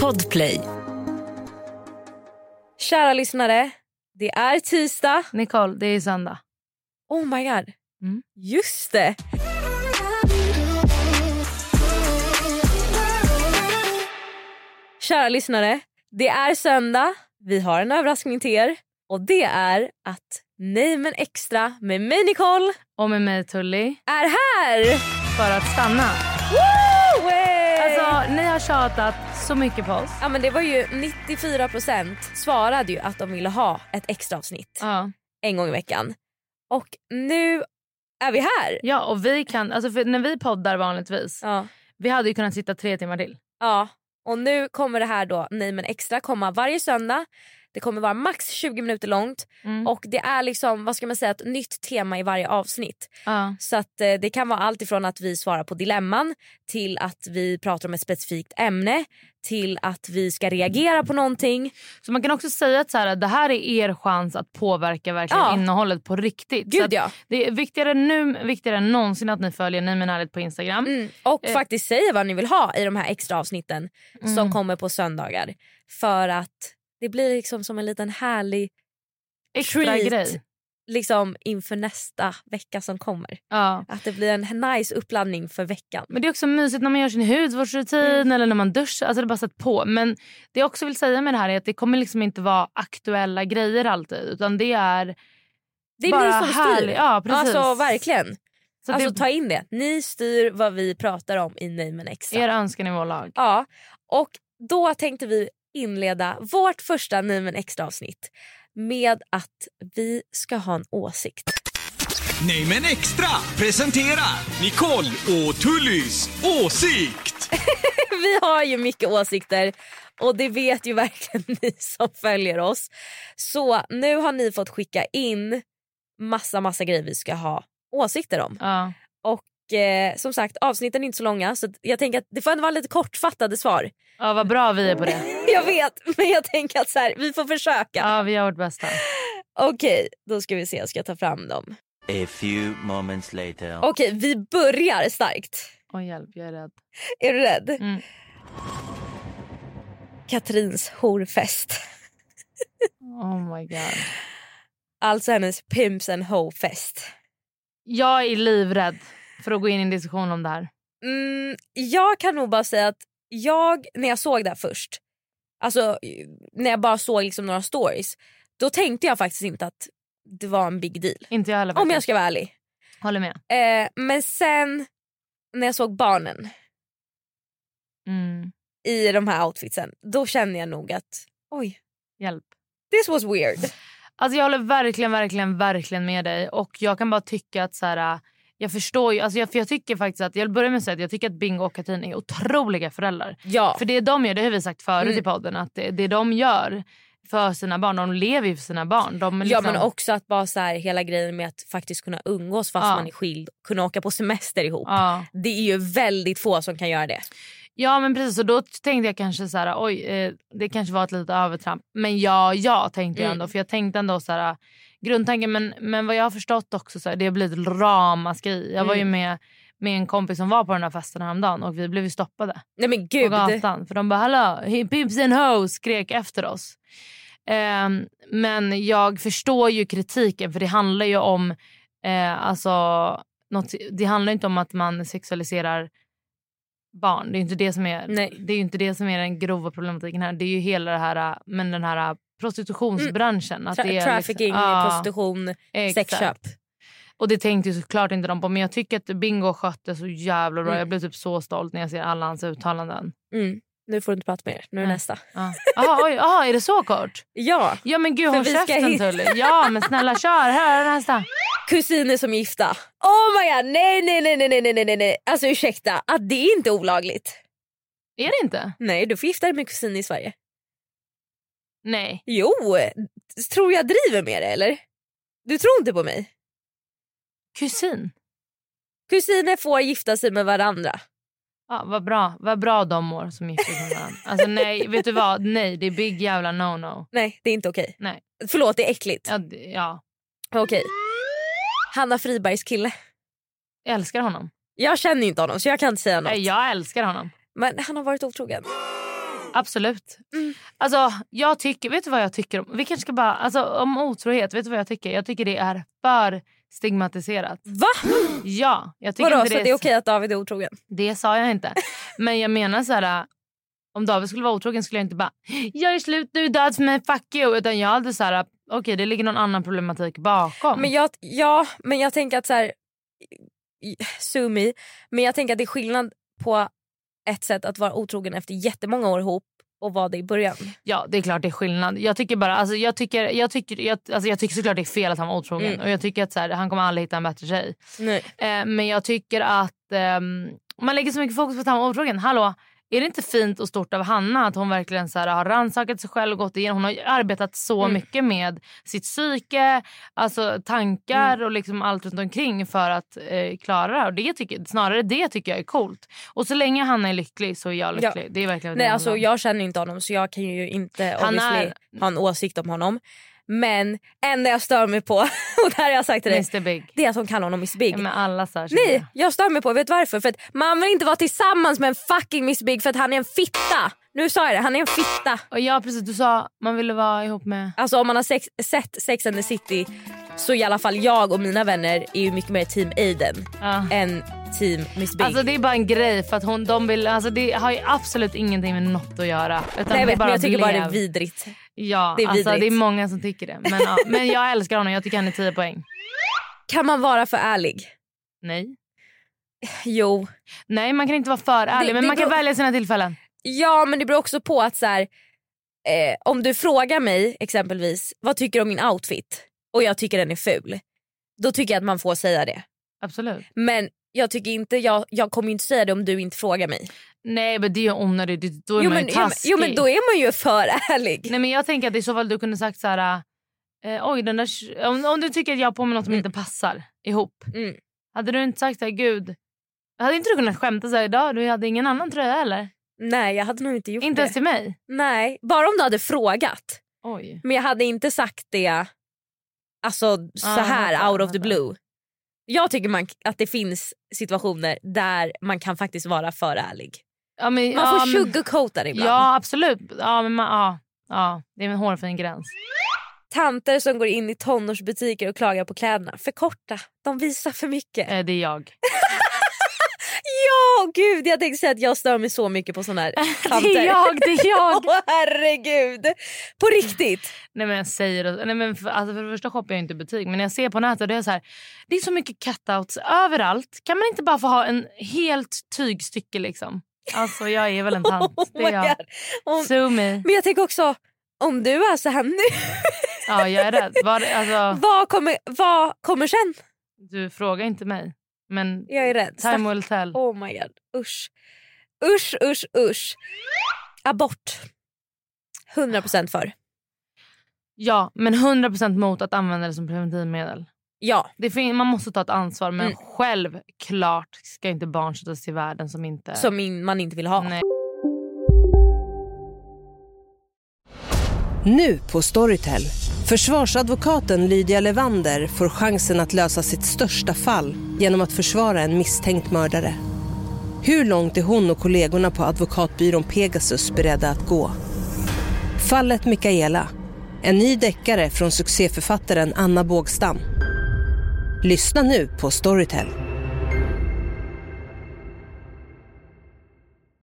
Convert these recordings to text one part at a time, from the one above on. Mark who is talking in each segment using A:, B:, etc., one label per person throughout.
A: Podplay.
B: Kära lyssnare, det är tisdag.
C: Nicole, det är söndag.
B: Oh my god.
C: Mm.
B: Just det. Kära lyssnare, det är söndag. Vi har en överraskning till er. Och det är att Nej men extra med mig Nicole
C: Och med mig Tully.
B: är här!
C: För att stanna.
B: Woo! Hey!
C: Alltså, ni har tjatat så mycket på oss.
B: ja, men det var ju 94% svarade ju att de ville ha ett extra avsnitt
C: Ja.
B: en gång i veckan. Och nu är vi här.
C: ja, och vi kan... Alltså för när vi poddar vanligtvis,
B: Ja.
C: vi hade ju kunnat sitta tre timmar till.
B: Ja, och nu kommer det här då, Nej men extra, komma varje söndag. Det kommer vara max 20 minuter långt
C: Mm.
B: och det är liksom, vad ska man säga, ett nytt tema i varje avsnitt.
C: Ja.
B: Så att eh, det kan vara allt ifrån att vi svarar på dilemman till att vi pratar om ett specifikt ämne till att vi ska reagera på någonting.
C: Så man kan också säga att så här, det här är er chans att påverka verkligen
B: Ja.
C: innehållet på riktigt. så
B: Gud
C: att
B: ja.
C: Det är viktigare nu viktigare än någonsin att ni följer Nej men ärligt på Instagram.
B: Mm. Och
C: Eh.
B: faktiskt säga vad ni vill ha i de här extra avsnitten som
C: Mm.
B: kommer på söndagar. För att det blir liksom som en liten härlig
C: Extra
B: treat.
C: grej.
B: liksom inför nästa vecka som kommer.
C: Ja.
B: Att det blir en nice uppladdning för veckan.
C: Men det är också mysigt när man gör sin hudvårdsrutin
B: Mm.
C: eller när man duschar. Alltså det är bara satt på. Men det jag också vill säga med det här är att det kommer liksom inte vara aktuella grejer alltid. Utan det är
B: Det är
C: bara
B: ni som
C: härlig-
B: styr.
C: Ja, precis.
B: Alltså verkligen.
C: Så
B: alltså,
C: det
B: Ta in det. Ni styr vad vi pratar om i Nej men extra.
C: är er önskan i vår lag.
B: Ja. Och då tänkte vi inleda vårt första Nej men extra avsnitt med att vi ska ha en åsikt.
D: Nej men extra presenterar Nicole och Tullys åsikt.
B: vi har ju mycket åsikter och det vet ju verkligen ni som följer oss. Så nu har ni fått skicka in massa massa grejer vi ska ha åsikter om.
C: Ja.
B: Och eh, som sagt, avsnitten är inte så långa så jag tänker att det får ändå vara lite kortfattade svar.
C: ja, vad bra vi är på det.
B: Jag vet, men jag tänker att så här, vi får försöka.
C: Ja, vi gör vårt bästa.
B: Okej, då ska vi se, jag ska ta fram dem.
E: A few moments later.
B: Okej, vi börjar starkt.
C: Oj, hjälp, jag är rädd.
B: Är du rädd?
C: Mm.
B: Katrins horfest.
C: Oh my god.
B: Alltså hennes pimps and ho-fest.
C: Jag är livrädd för att gå in i en diskussion om det här.
B: Mm, jag kan nog bara säga att jag, när jag såg det här först, alltså eh, när jag bara såg liksom några stories, då tänkte jag faktiskt inte att det var en big deal.
C: Inte jag heller.
B: Om jag
C: faktiskt.
B: ska vara ärlig.
C: Håller med.
B: Eh, men sen när jag såg barnen
C: Mm.
B: i de här outfitsen, då kände jag nog att oj,
C: Hjälp.
B: this was weird.
C: Alltså jag håller verkligen, verkligen, verkligen med dig. Och jag kan bara tycka att så här, äh, jag förstår ju, alltså jag, för jag tycker faktiskt att, jag börjar med att säga att jag tycker att Bingo och Katrin är otroliga föräldrar.
B: Ja.
C: För det de gör, det har vi sagt förut
B: Mm.
C: i podden, att det, det de gör för sina barn, de lever ju för sina barn. De är
B: Ja
C: liksom,
B: men också att bara så här, hela grejen med att faktiskt kunna umgås fast
C: Ja.
B: man är skild, kunna åka på semester ihop.
C: Ja.
B: Det är ju väldigt få som kan göra det.
C: ja men precis, och då tänkte jag kanske så här, oj eh, det kanske var ett litet övertramp. Men ja, ja tänkte jag
B: Mm.
C: ändå. För jag tänkte ändå så här, grundtanken, men, men vad jag har förstått också så här, det har blivit ramaskri. Jag var ju
B: Mm.
C: med, med en kompis som var på den här festen häromdagen och vi blev ju stoppade.
B: Nej men
C: på
B: gud.
C: gatan. För de bara hallå, he- pimps and hoes skrek efter oss. Ehm, men jag förstår ju kritiken för det handlar ju om eh, alltså, något, det handlar inte om att man sexualiserar barn. Det är ju inte det som är,
B: Nej.
C: det är ju inte det som är den grova problematiken här. Det är ju hela det här, äh, men den här äh, prostitutionsbranschen. Att
B: Mm, Tra-
C: det är
B: trafficking,
C: liksom, ja,
B: prostitution,
C: exakt.
B: sexköp.
C: Och det tänkte ju såklart inte de på. Men jag tycker att Bingo skötte så jävla bra. Jag blev typ så stolt när jag ser alla hans uttalanden.
B: Mm. Nu får du inte prata mer. Nu är det
C: Nej.
B: nästa.
C: Ja. Aha, oj, aha, är det så kort?
B: Ja,
C: Ja men gud
B: För
C: håll
B: vi ska
C: käften
B: hitta-
C: Tully. Ja men snälla kör, här är nästa.
B: kusiner som är gifta. Oh my god, nej nej nej nej nej nej nej nej. Alltså ursäkta, att det är inte olagligt.
C: Är det inte?
B: Nej, du får gifta dig med kusin i Sverige.
C: Nej.
B: Jo, tror jag driver med det eller? Du tror inte på mig?
C: Kusin.
B: Kusiner får gifta sig med varandra.
C: Ja, vad bra vad bra de mår som gifter sig med varandra. Alltså nej, vet du vad? Nej, det är big jävla no-no.
B: Nej, det är inte okej.
C: Nej.
B: Förlåt, det är äckligt.
C: Ja, det- ja,
B: Okej. Hanna Fribergs kille.
C: jag älskar honom.
B: Jag känner ju inte honom så jag kan inte säga något.
C: Nej, jag älskar honom.
B: Men han har varit otrogen.
C: Absolut.
B: Mm.
C: Alltså, jag tycker, vet du vad jag tycker om? Vi kanske ska bara, alltså om otrohet, vet du vad jag tycker? Jag tycker det är för stigmatiserat.
B: Va?
C: Ja, jag tycker
B: Vadå,
C: inte
B: så det är okej att David är otrogen?
C: Det sa jag inte. Men jag menar så här. äh, Om David skulle vara otrogen skulle jag inte bara “jag är slut, du är död för mig, fuck you”. Utan jag hade så här, äh, okej det ligger någon annan problematik bakom.
B: Men jag, ja, men jag tänker att så här, sumi, men jag tänker att det är skillnad på ett sätt att vara otrogen efter jättemånga år ihop och vara det i början.
C: Ja det är klart det är skillnad. Jag tycker bara, alltså jag tycker, jag tycker, jag, alltså, jag tycker såklart det är fel att han var otrogen.
B: Mm.
C: Och jag tycker att så här, han kommer aldrig hitta en bättre tjej.
B: Nej.
C: Eh, men jag tycker att ehm, man lägger så mycket fokus på att han var otrogen. Hallå, är det inte fint och stort av Hanna att hon verkligen så här, har rannsakat sig själv och gått igenom. Hon har ju arbetat så
B: Mm.
C: mycket med sitt psyke, alltså tankar
B: Mm.
C: och liksom allt runt omkring för att eh, klara det här. Och det tycker, snarare det tycker jag är coolt. Och så länge Hanna är lycklig så är jag
B: Ja.
C: lycklig. Det är verkligen vad
B: Nej,
C: det
B: alltså,
C: handlar om.
B: jag känner inte honom så jag kan ju inte
C: Han
B: obviously ha en åsikt om honom. Men enda jag stör mig på, och det här har jag sagt till dig,
C: Mr Big.
B: det är att hon kallar honom Miss Big.
C: Med alla så här,
B: Nej, jag stör mig på. Vet du varför? För att man vill inte vara tillsammans med en fucking Miss Big för att han är en fitta. Nu sa jag det, han är en fitta.
C: Och ja precis, du sa man ville vara ihop med...
B: Alltså om man har sex, sett Sex and the City så i alla fall jag och mina vänner är ju mycket mer team Aiden
C: Ja.
B: än team Miss Big.
C: Alltså det är bara en grej för att hon, de vill, alltså det har ju absolut ingenting med något att göra. Utan
B: Nej, jag
C: det
B: vet, men jag tycker bara det är
C: blev-
B: vidrigt.
C: Ja,
B: det
C: det
B: är
C: är, alltså, det
B: vidrigt.
C: är många som tycker det. Men, ja, men jag älskar honom, jag tycker han är 10 poäng.
B: Kan man vara för ärlig?
C: Nej.
B: Jo.
C: Nej man kan inte vara för ärlig
B: Det-
C: men
B: det
C: man kan
B: beror-
C: välja sina tillfällen.
B: Ja men det beror också på att så här, eh, om du frågar mig exempelvis vad tycker du om min outfit och jag tycker den är ful. Då tycker jag att man får säga det.
C: Absolut.
B: Men jag tycker inte, jag, jag kommer ju inte säga det om du inte frågar mig.
C: Nej men det är ju onödigt, Det- då är
B: Jo
C: man
B: men,
C: ju
B: jo, men,
C: taskig.
B: jo men då är man ju för ärlig.
C: Nej men jag tänker att i så fall du kunde sagt så här. Eh, oj, den där, sh- om, om du tycker att jag har på mig något som inte passar ihop.
B: Mm.
C: Hade du inte sagt så här, gud. Hade inte du kunnat skämta så här idag? Du hade ingen annan tröja eller?
B: Nej jag hade nog inte gjort
C: Inte
B: det.
C: ens till mig?
B: Nej, bara om du hade frågat.
C: Oj.
B: Men jag hade inte sagt det alltså, så
C: Ah, jag
B: här
C: fattar,
B: out
C: jag
B: of
C: fattar.
B: the blue. Jag tycker man, att det finns situationer där man kan faktiskt vara för ärlig.
C: Ja, men,
B: Man
C: ja,
B: får
C: men-
B: sugarcoata det ibland.
C: Ja absolut. Ja, men man, ja, ja, det är en hårfin gräns.
B: Tanter som går in i tonårsbutiker och klagar på kläderna. För korta, de visar för mycket.
C: Eh, det är jag.
B: Ja, gud jag tänkte säga att jag stör mig så mycket på såna här tanter.
C: Det är jag, det är jag.
B: Åh herregud! På riktigt!
C: Nej men jag säger det. Nej, men för, alltså, för det första shoppar jag inte i butik men när jag ser på nätet det är så här. Det är så mycket cutouts överallt. Kan man inte bara få ha en helt tygstycke liksom? Alltså jag är väl en tant.
B: Oh
C: Det är
B: my
C: jag.
B: God. Om,
C: Sue me.
B: men jag tänker också, om du är så här nu,
C: Ja jag är rädd. Var, alltså,
B: vad kommer, vad kommer sen?
C: du frågar inte mig. Men
B: Jag är rädd.
C: time will tell.
B: Oh my god, usch. Usch, usch, usch. Abort. 100% för.
C: Ja men 100% mot att använda det som preventivmedel.
B: Ja.
C: Det fin- man måste ta ett ansvar men
B: Mm.
C: självklart ska inte barn sättas till världen som inte...
B: Som in, man inte vill ha.
C: Nej.
F: Nu på Storytel. Försvarsadvokaten Lydia Levander får chansen att lösa sitt största fall genom att försvara en misstänkt mördare. Hur långt är hon och kollegorna på advokatbyrån Pegasus beredda att gå? Fallet Mikaela. En ny deckare från succéförfattaren Anna Bågstam. Lyssna nu på Storytel.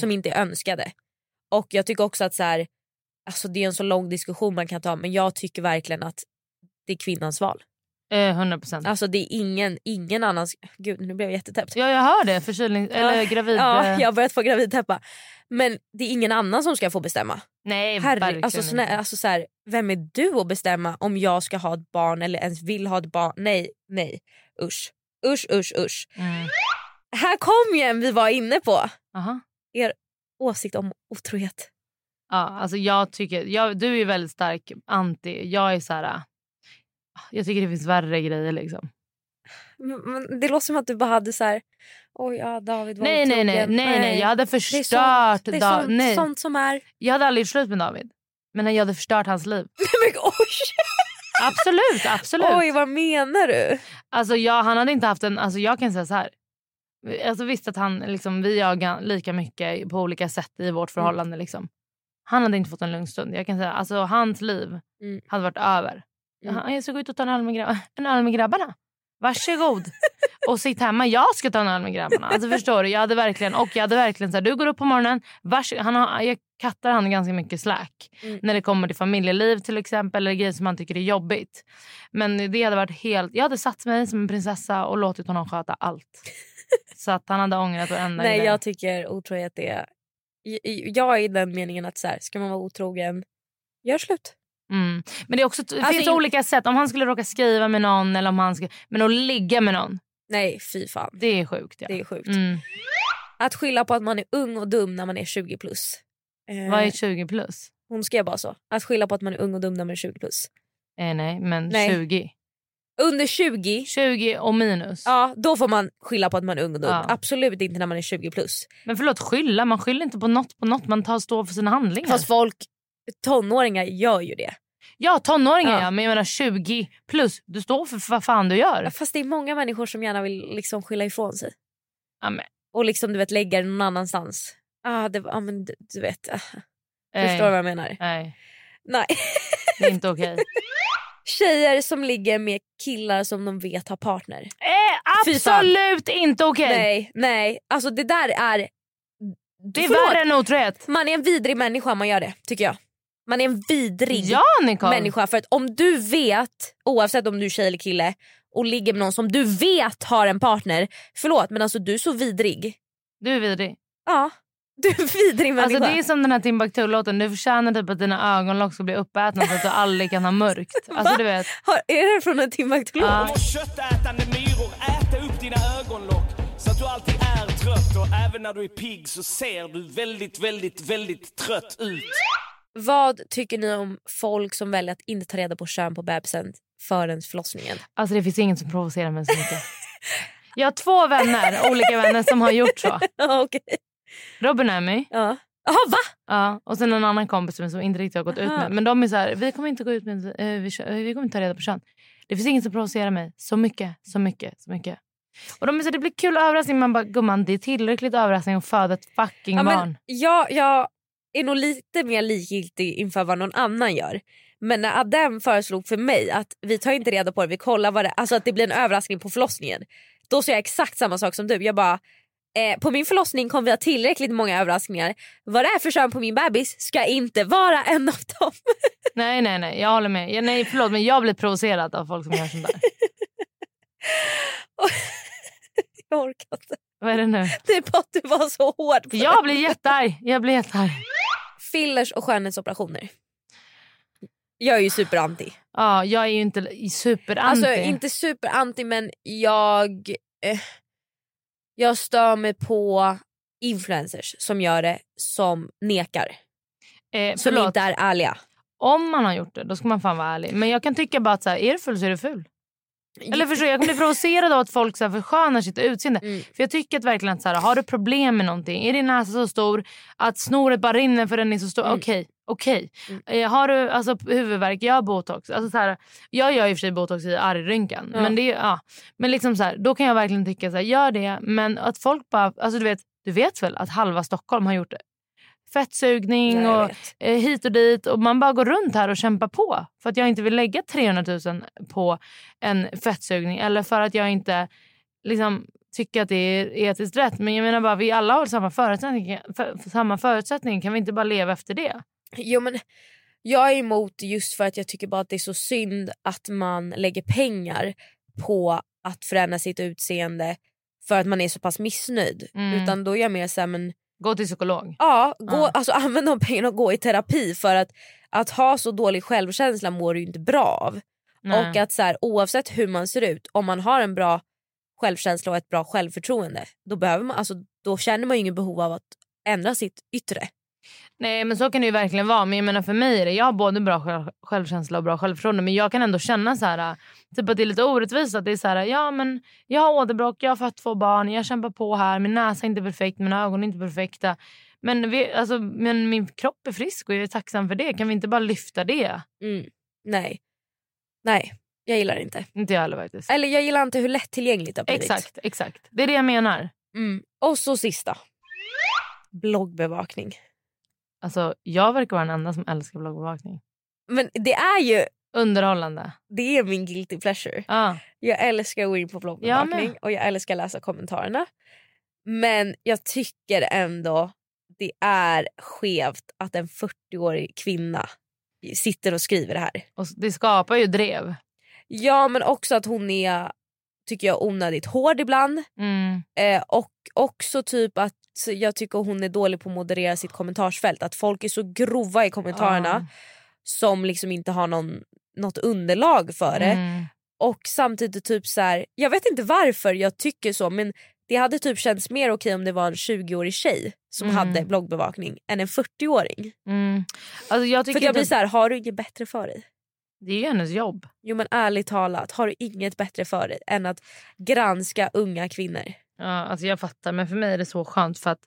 B: som inte är önskade. Och jag tycker också att så här, alltså det är en så lång diskussion man kan ta men jag tycker verkligen att det är kvinnans val.
C: Eh, 100%.
B: Alltså det är ingen, ingen annans... Gud nu blev jag jättetäppt.
C: Ja jag hör det, förkylning... eller gravid...
B: Ja,
C: eh.
B: jag har börjat få gravidtäppa. Men det är ingen annan som ska få bestämma.
C: Nej,
B: Herre,
C: verkligen
B: alltså, såna,
C: inte.
B: alltså så här, vem är du att bestämma om jag ska ha ett barn eller ens vill ha ett barn? Nej, nej. Usch, usch, usch, usch.
C: Mm.
B: Här kom ju en vi var inne på. Er åsikt om otrohet.
C: Ja, alltså jag tycker, jag, du är ju väldigt stark anti. Jag är så här, äh, jag tycker det finns värre grejer liksom.
B: Men- men Det låter som att du bara hade så här... Oj, ja, David var
C: Nej, nej,
B: otrogen.
C: nej, nej, nej, jag hade förstört
B: Det är sånt, det är
C: Da-
B: sånt,
C: nej.
B: sånt som är...
C: Jag hade aldrig gjort slut med David. Men jag hade förstört hans liv. Absolut, absolut.
B: Oj, vad menar du?
C: Alltså jag, han hade inte haft en, alltså jag kan säga så här. Alltså visst att han, liksom, vi jagar lika mycket på olika sätt i vårt förhållande. Liksom. Han hade inte fått en lugn stund. Jag kan säga, alltså hans liv
B: Mm.
C: hade varit över.
B: Mm.
C: Han, jag ska gå ut och ta en öl med, grab- en öl med grabbarna. Varsågod. och sitt hemma. Jag ska ta en öl med grabbarna. Alltså förstår du? Jag hade verkligen, och jag hade verkligen så här, du går upp på morgonen. Vars, han har, jag kattar han ganska mycket slack.
B: Mm.
C: När det kommer till familjeliv till exempel. Eller grejer som han tycker är jobbigt. Men det hade varit helt, jag hade satt mig som en prinsessa och låtit honom sköta allt. så att han hade ångrat varenda
B: Nej,
C: grej.
B: jag tycker otrohet är... j- j- Jag är i den meningen att så här, ska man vara otrogen, gör slut.
C: Mm. Men det är också, det
B: Alltså,
C: finns
B: in-
C: olika sätt. Om han skulle råka skriva med någon eller om han skulle, men att ligga med någon.
B: Nej, fy fan.
C: Det är sjukt. Ja.
B: Det är sjukt.
C: Mm.
B: Att skylla på att man är ung och dum när man är 20 plus. Eh,
C: Vad är 20 plus?
B: Hon skrev bara så. Att skylla på att man är ung och dum när man är 20 plus.
C: Eh, nej, men
B: Nej.
C: 20.
B: Under 20.
C: 20 och minus.
B: Ja, då får man skylla på att man är ung och dum.
C: Ja.
B: Absolut inte när man är 20 plus.
C: Men förlåt, skylla. Man skyller inte på något på något. Man tar stå för sina handlingar.
B: Fast folk, tonåringar gör ju
C: Mm.
B: det.
C: Ja, tonåringar
B: Ja.
C: ja. men jag menar 20 plus. Du står för vad fan du gör.
B: Fast det är många människor som gärna vill liksom skylla ifrån sig.
C: Ja, men.
B: Och liksom du vet lägga det någon annanstans. Ah, det, var- ah, men, du, du vet. Ah.
C: Nej.
B: Förstår du vad jag menar?
C: Eh, Nej,
B: Nej.
C: det är inte okej.
B: Tjejer som ligger med killar som de vet har partner.
C: Eh,
B: Fy fan.
C: absolut inte okej.
B: Nej, nej. Alltså det där är...
C: Det är
B: Förlåt.
C: värre än otrohet.
B: Man är en vidrig människa om man gör det, tycker jag. Man är en vidrig
C: Ja, Nicole.
B: människa. För att om du vet, oavsett om du är tjej eller kille och ligger med någon som du vet har en partner. Förlåt men alltså du är så vidrig.
C: Du är vidrig.
B: Ja, du är en vidrig människa.
C: Alltså det är som den här Timbuktu-låten. Du förtjänar typ att dina ögonlock ska bli uppätna så att du aldrig kan ha mörkt. Alltså du vet.
B: Har, är det från en Timbuktu-låt?
C: Ja.
G: Köttätande myror, äta upp dina ögonlock så att du alltid är trött och även när du är pigg så ser du väldigt, väldigt, väldigt trött ut.
B: Vad tycker ni om folk som väljer att inte ta reda på kön på bebisen förrän förlossningen?
C: Alltså det finns inget som provocerar mig så mycket. Jag har två vänner, olika vänner som har gjort så.
B: Ja, Okej.
C: Robin och Emmy.
B: Ja. Jaha va?
C: Ja, och sen en annan kompis som inte riktigt har gått ut
B: Aha.
C: med. Men de är så här, vi kommer inte gå ut med, eh, vi, kö- eh, vi kommer inte ta reda på kön. Det finns inget som provocerar mig så mycket, så mycket, så mycket. Och de är så här, det blir kul överraskning. Man bara, gumman det är tillräckligt överraskning att föda ett fucking
B: Ja,
C: barn.
B: men jag, jag är nog lite mer likgiltig inför vad någon annan gör. Men när Adem föreslog för mig att vi tar inte reda på det, vi kollar vad det alltså att det blir en överraskning på förlossningen. Då sa jag exakt samma sak som du. Jag bara, eh, på min förlossning kommer vi ha tillräckligt många överraskningar. Vad det är för kön på min bebis ska inte vara en av dem.
C: Nej, nej, nej. Jag håller med. Ja, nej, förlåt, men jag blir provocerad av folk som gör sånt där.
B: Jag orkar inte.
C: Vad är det nu?
B: Det är bara att du var så hård. på
C: Jag
B: det.
C: blir jättearg. Jag blir jättearg.
B: Fillers och skönhetsoperationer. Jag är ju superanti.
C: Ja, jag är ju inte superanti.
B: Alltså inte superanti men jag, eh, jag stör mig på influencers som gör det som nekar.
C: eh,
B: Som
C: förlåt.
B: inte är ärliga.
C: Om man har gjort det, då ska man fan vara ärlig. Men jag kan tycka bara att så här, är du full så är du ful. Eller förstår du, jag blir provocerad av att folk så här förskönar sitt utseende.
B: Mm.
C: För jag tycker att verkligen att så här, har du problem med någonting, är din näsa så stor att snoret bara rinner för den är så stor,
B: Mm.
C: okej. Okej. Eh, Har du alltså, huvudvärk, gör botox. Alltså, så här, jag gör i och för sig botox i argrynkan.
B: Ja.
C: Men, det, är- ja. men liksom så här, då kan jag verkligen tycka så här, gör det. Men att folk bara, alltså, du, vet, du vet väl att halva Stockholm har gjort det? Fettsugning
B: Ja, jag
C: och eh, hit och dit. Och Man bara går runt här och kämpar på. För att jag inte vill lägga 300 000 på en fettsugning. Eller för att jag inte liksom, tycker att det är etiskt rätt. Men jag menar bara, vi alla har samma förutsättningar. För, för samma förutsättningar. Kan vi inte bara leva efter det?
B: Jo, men jag är emot just för att jag tycker bara att det är så synd att man lägger pengar på att förändra sitt utseende för att man är så pass missnöjd.
C: Mm.
B: Utan då är jag mer så här, men
C: Gå till psykolog.
B: Ja, gå,
C: Ja.
B: Alltså, använd de pengarna och gå i terapi för att, att ha så dålig självkänsla mår du ju inte bra av.
C: Nej.
B: Och att så här, oavsett hur man ser ut, om man har en bra självkänsla och ett bra självförtroende då, behöver man, alltså, då känner man ju ingen behov av att ändra sitt yttre.
C: Nej men så kan det ju verkligen vara. Men jag menar för mig är det, jag har både bra själv- självkänsla och bra självförtroende. Men jag kan ändå känna så här, typ att det är lite orättvist. Att det är så här, ja men jag har åderbråck, jag har fött två barn, jag kämpar på här. Min näsa är inte perfekt, mina ögon är inte perfekta. Men, vi, alltså, men min kropp är frisk och jag är tacksam för det. Kan vi inte bara lyfta det?
B: Mm. Nej. Nej, jag gillar det inte.
C: Inte jag heller faktiskt.
B: Eller jag gillar inte hur lättillgängligt det har blivit.
C: Exakt, exakt. Det är det jag menar.
B: Mm. Och så sista. Bloggbevakning.
C: Alltså jag verkar vara den enda som älskar bloggbevakning.
B: Men det är ju...
C: Underhållande.
B: Det är min guilty pleasure. Jag älskar att gå in på
C: Jag
B: bloggbevakning
C: med.
B: och jag älskar att läsa kommentarerna. Men jag tycker ändå det är skevt att en 40-årig kvinna sitter och skriver det här.
C: Och det skapar ju drev.
B: Ja men också att hon är tycker jag onödigt hård ibland.
C: Mm.
B: Eh, och också typ att jag tycker hon är dålig på att moderera sitt kommentarsfält. Att folk är så grova i kommentarerna
C: Ja.
B: som liksom inte har någon, något underlag för det.
C: Mm.
B: Och samtidigt typ så här, jag vet inte varför jag tycker så men det hade typ känts mer okej om det var en 20-årig tjej som
C: Mm.
B: hade bloggbevakning än en 40-åring.
C: Mm. Alltså, jag tycker
B: för jag
C: inte-
B: blir så här, har du inget bättre för dig?
C: Det är ju hennes jobb.
B: Jo men ärligt talat, har du inget bättre för dig än att granska unga kvinnor?
C: Ja, alltså jag fattar, men för mig är det så skönt. för att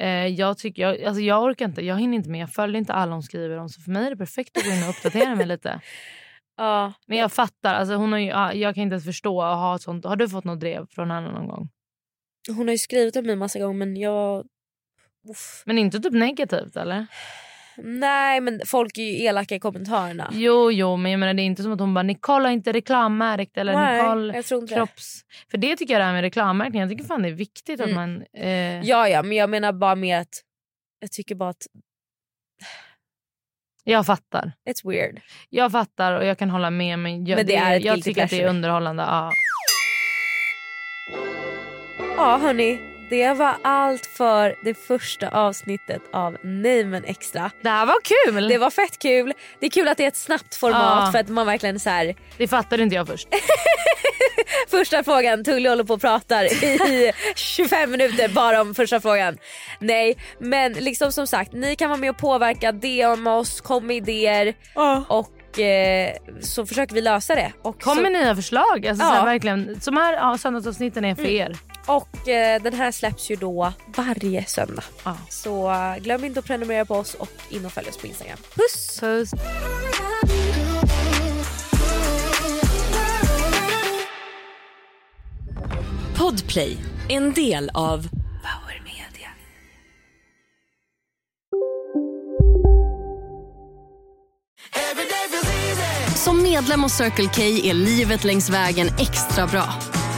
C: eh, jag, tycker, jag, alltså jag orkar inte, jag hinner inte med. Jag följer inte alla hon skriver om. Så för mig är det perfekt att gå in och uppdatera mig lite.
B: Ja.
C: Men jag fattar, alltså hon har ju, ja, jag kan inte ens förstå att ha ett sånt. Har du fått något drev från henne någon gång?
B: Hon har ju skrivit om mig massa gånger men jag... Uff.
C: Men inte typ negativt eller?
B: Nej men folk är ju elaka i kommentarerna.
C: Jo, jo, men jag menar det är inte som att hon bara Nicole har inte reklammärkt eller
B: Nej,
C: Nicole
B: jag tror inte det.
C: kropps... För det tycker jag det här med reklammärkning, jag tycker fan det är viktigt att
B: Mm.
C: man... Eh,
B: Ja ja men jag menar bara mer att jag tycker bara att
C: Jag fattar.
B: it's weird.
C: Jag fattar och jag kan hålla med men jag,
B: Men det är ett
C: jag
B: guilty
C: tycker att det är
B: pleasure.
C: underhållande. Ja.
B: Ja hörni, det var allt för det första avsnittet av Nej men extra.
C: Det här var kul!
B: Det var fett kul. Det är kul att det är ett snabbt format
C: Ja.
B: för att man verkligen så här.
C: Det fattade inte jag först.
B: Första frågan, Tully håller på och pratar i 25 minuter bara om första frågan. Nej men liksom som sagt, ni kan vara med och påverka, DM oss, kom med idéer och eh, så försöker vi lösa det. Och
C: Kom
B: så-
C: med nya förslag. Alltså, så
B: Ja.
C: här, verkligen. De här ja, söndagsavsnitten är för
B: Mm.
C: er.
B: Och eh, den här släpps ju då varje söndag.
C: Ja.
B: Så eh, glöm inte att prenumerera på oss och in och följ oss på Instagram. Puss!
C: Puss.
A: Podplay, en del av
H: Som medlem hos Circle K är livet längs vägen extra bra.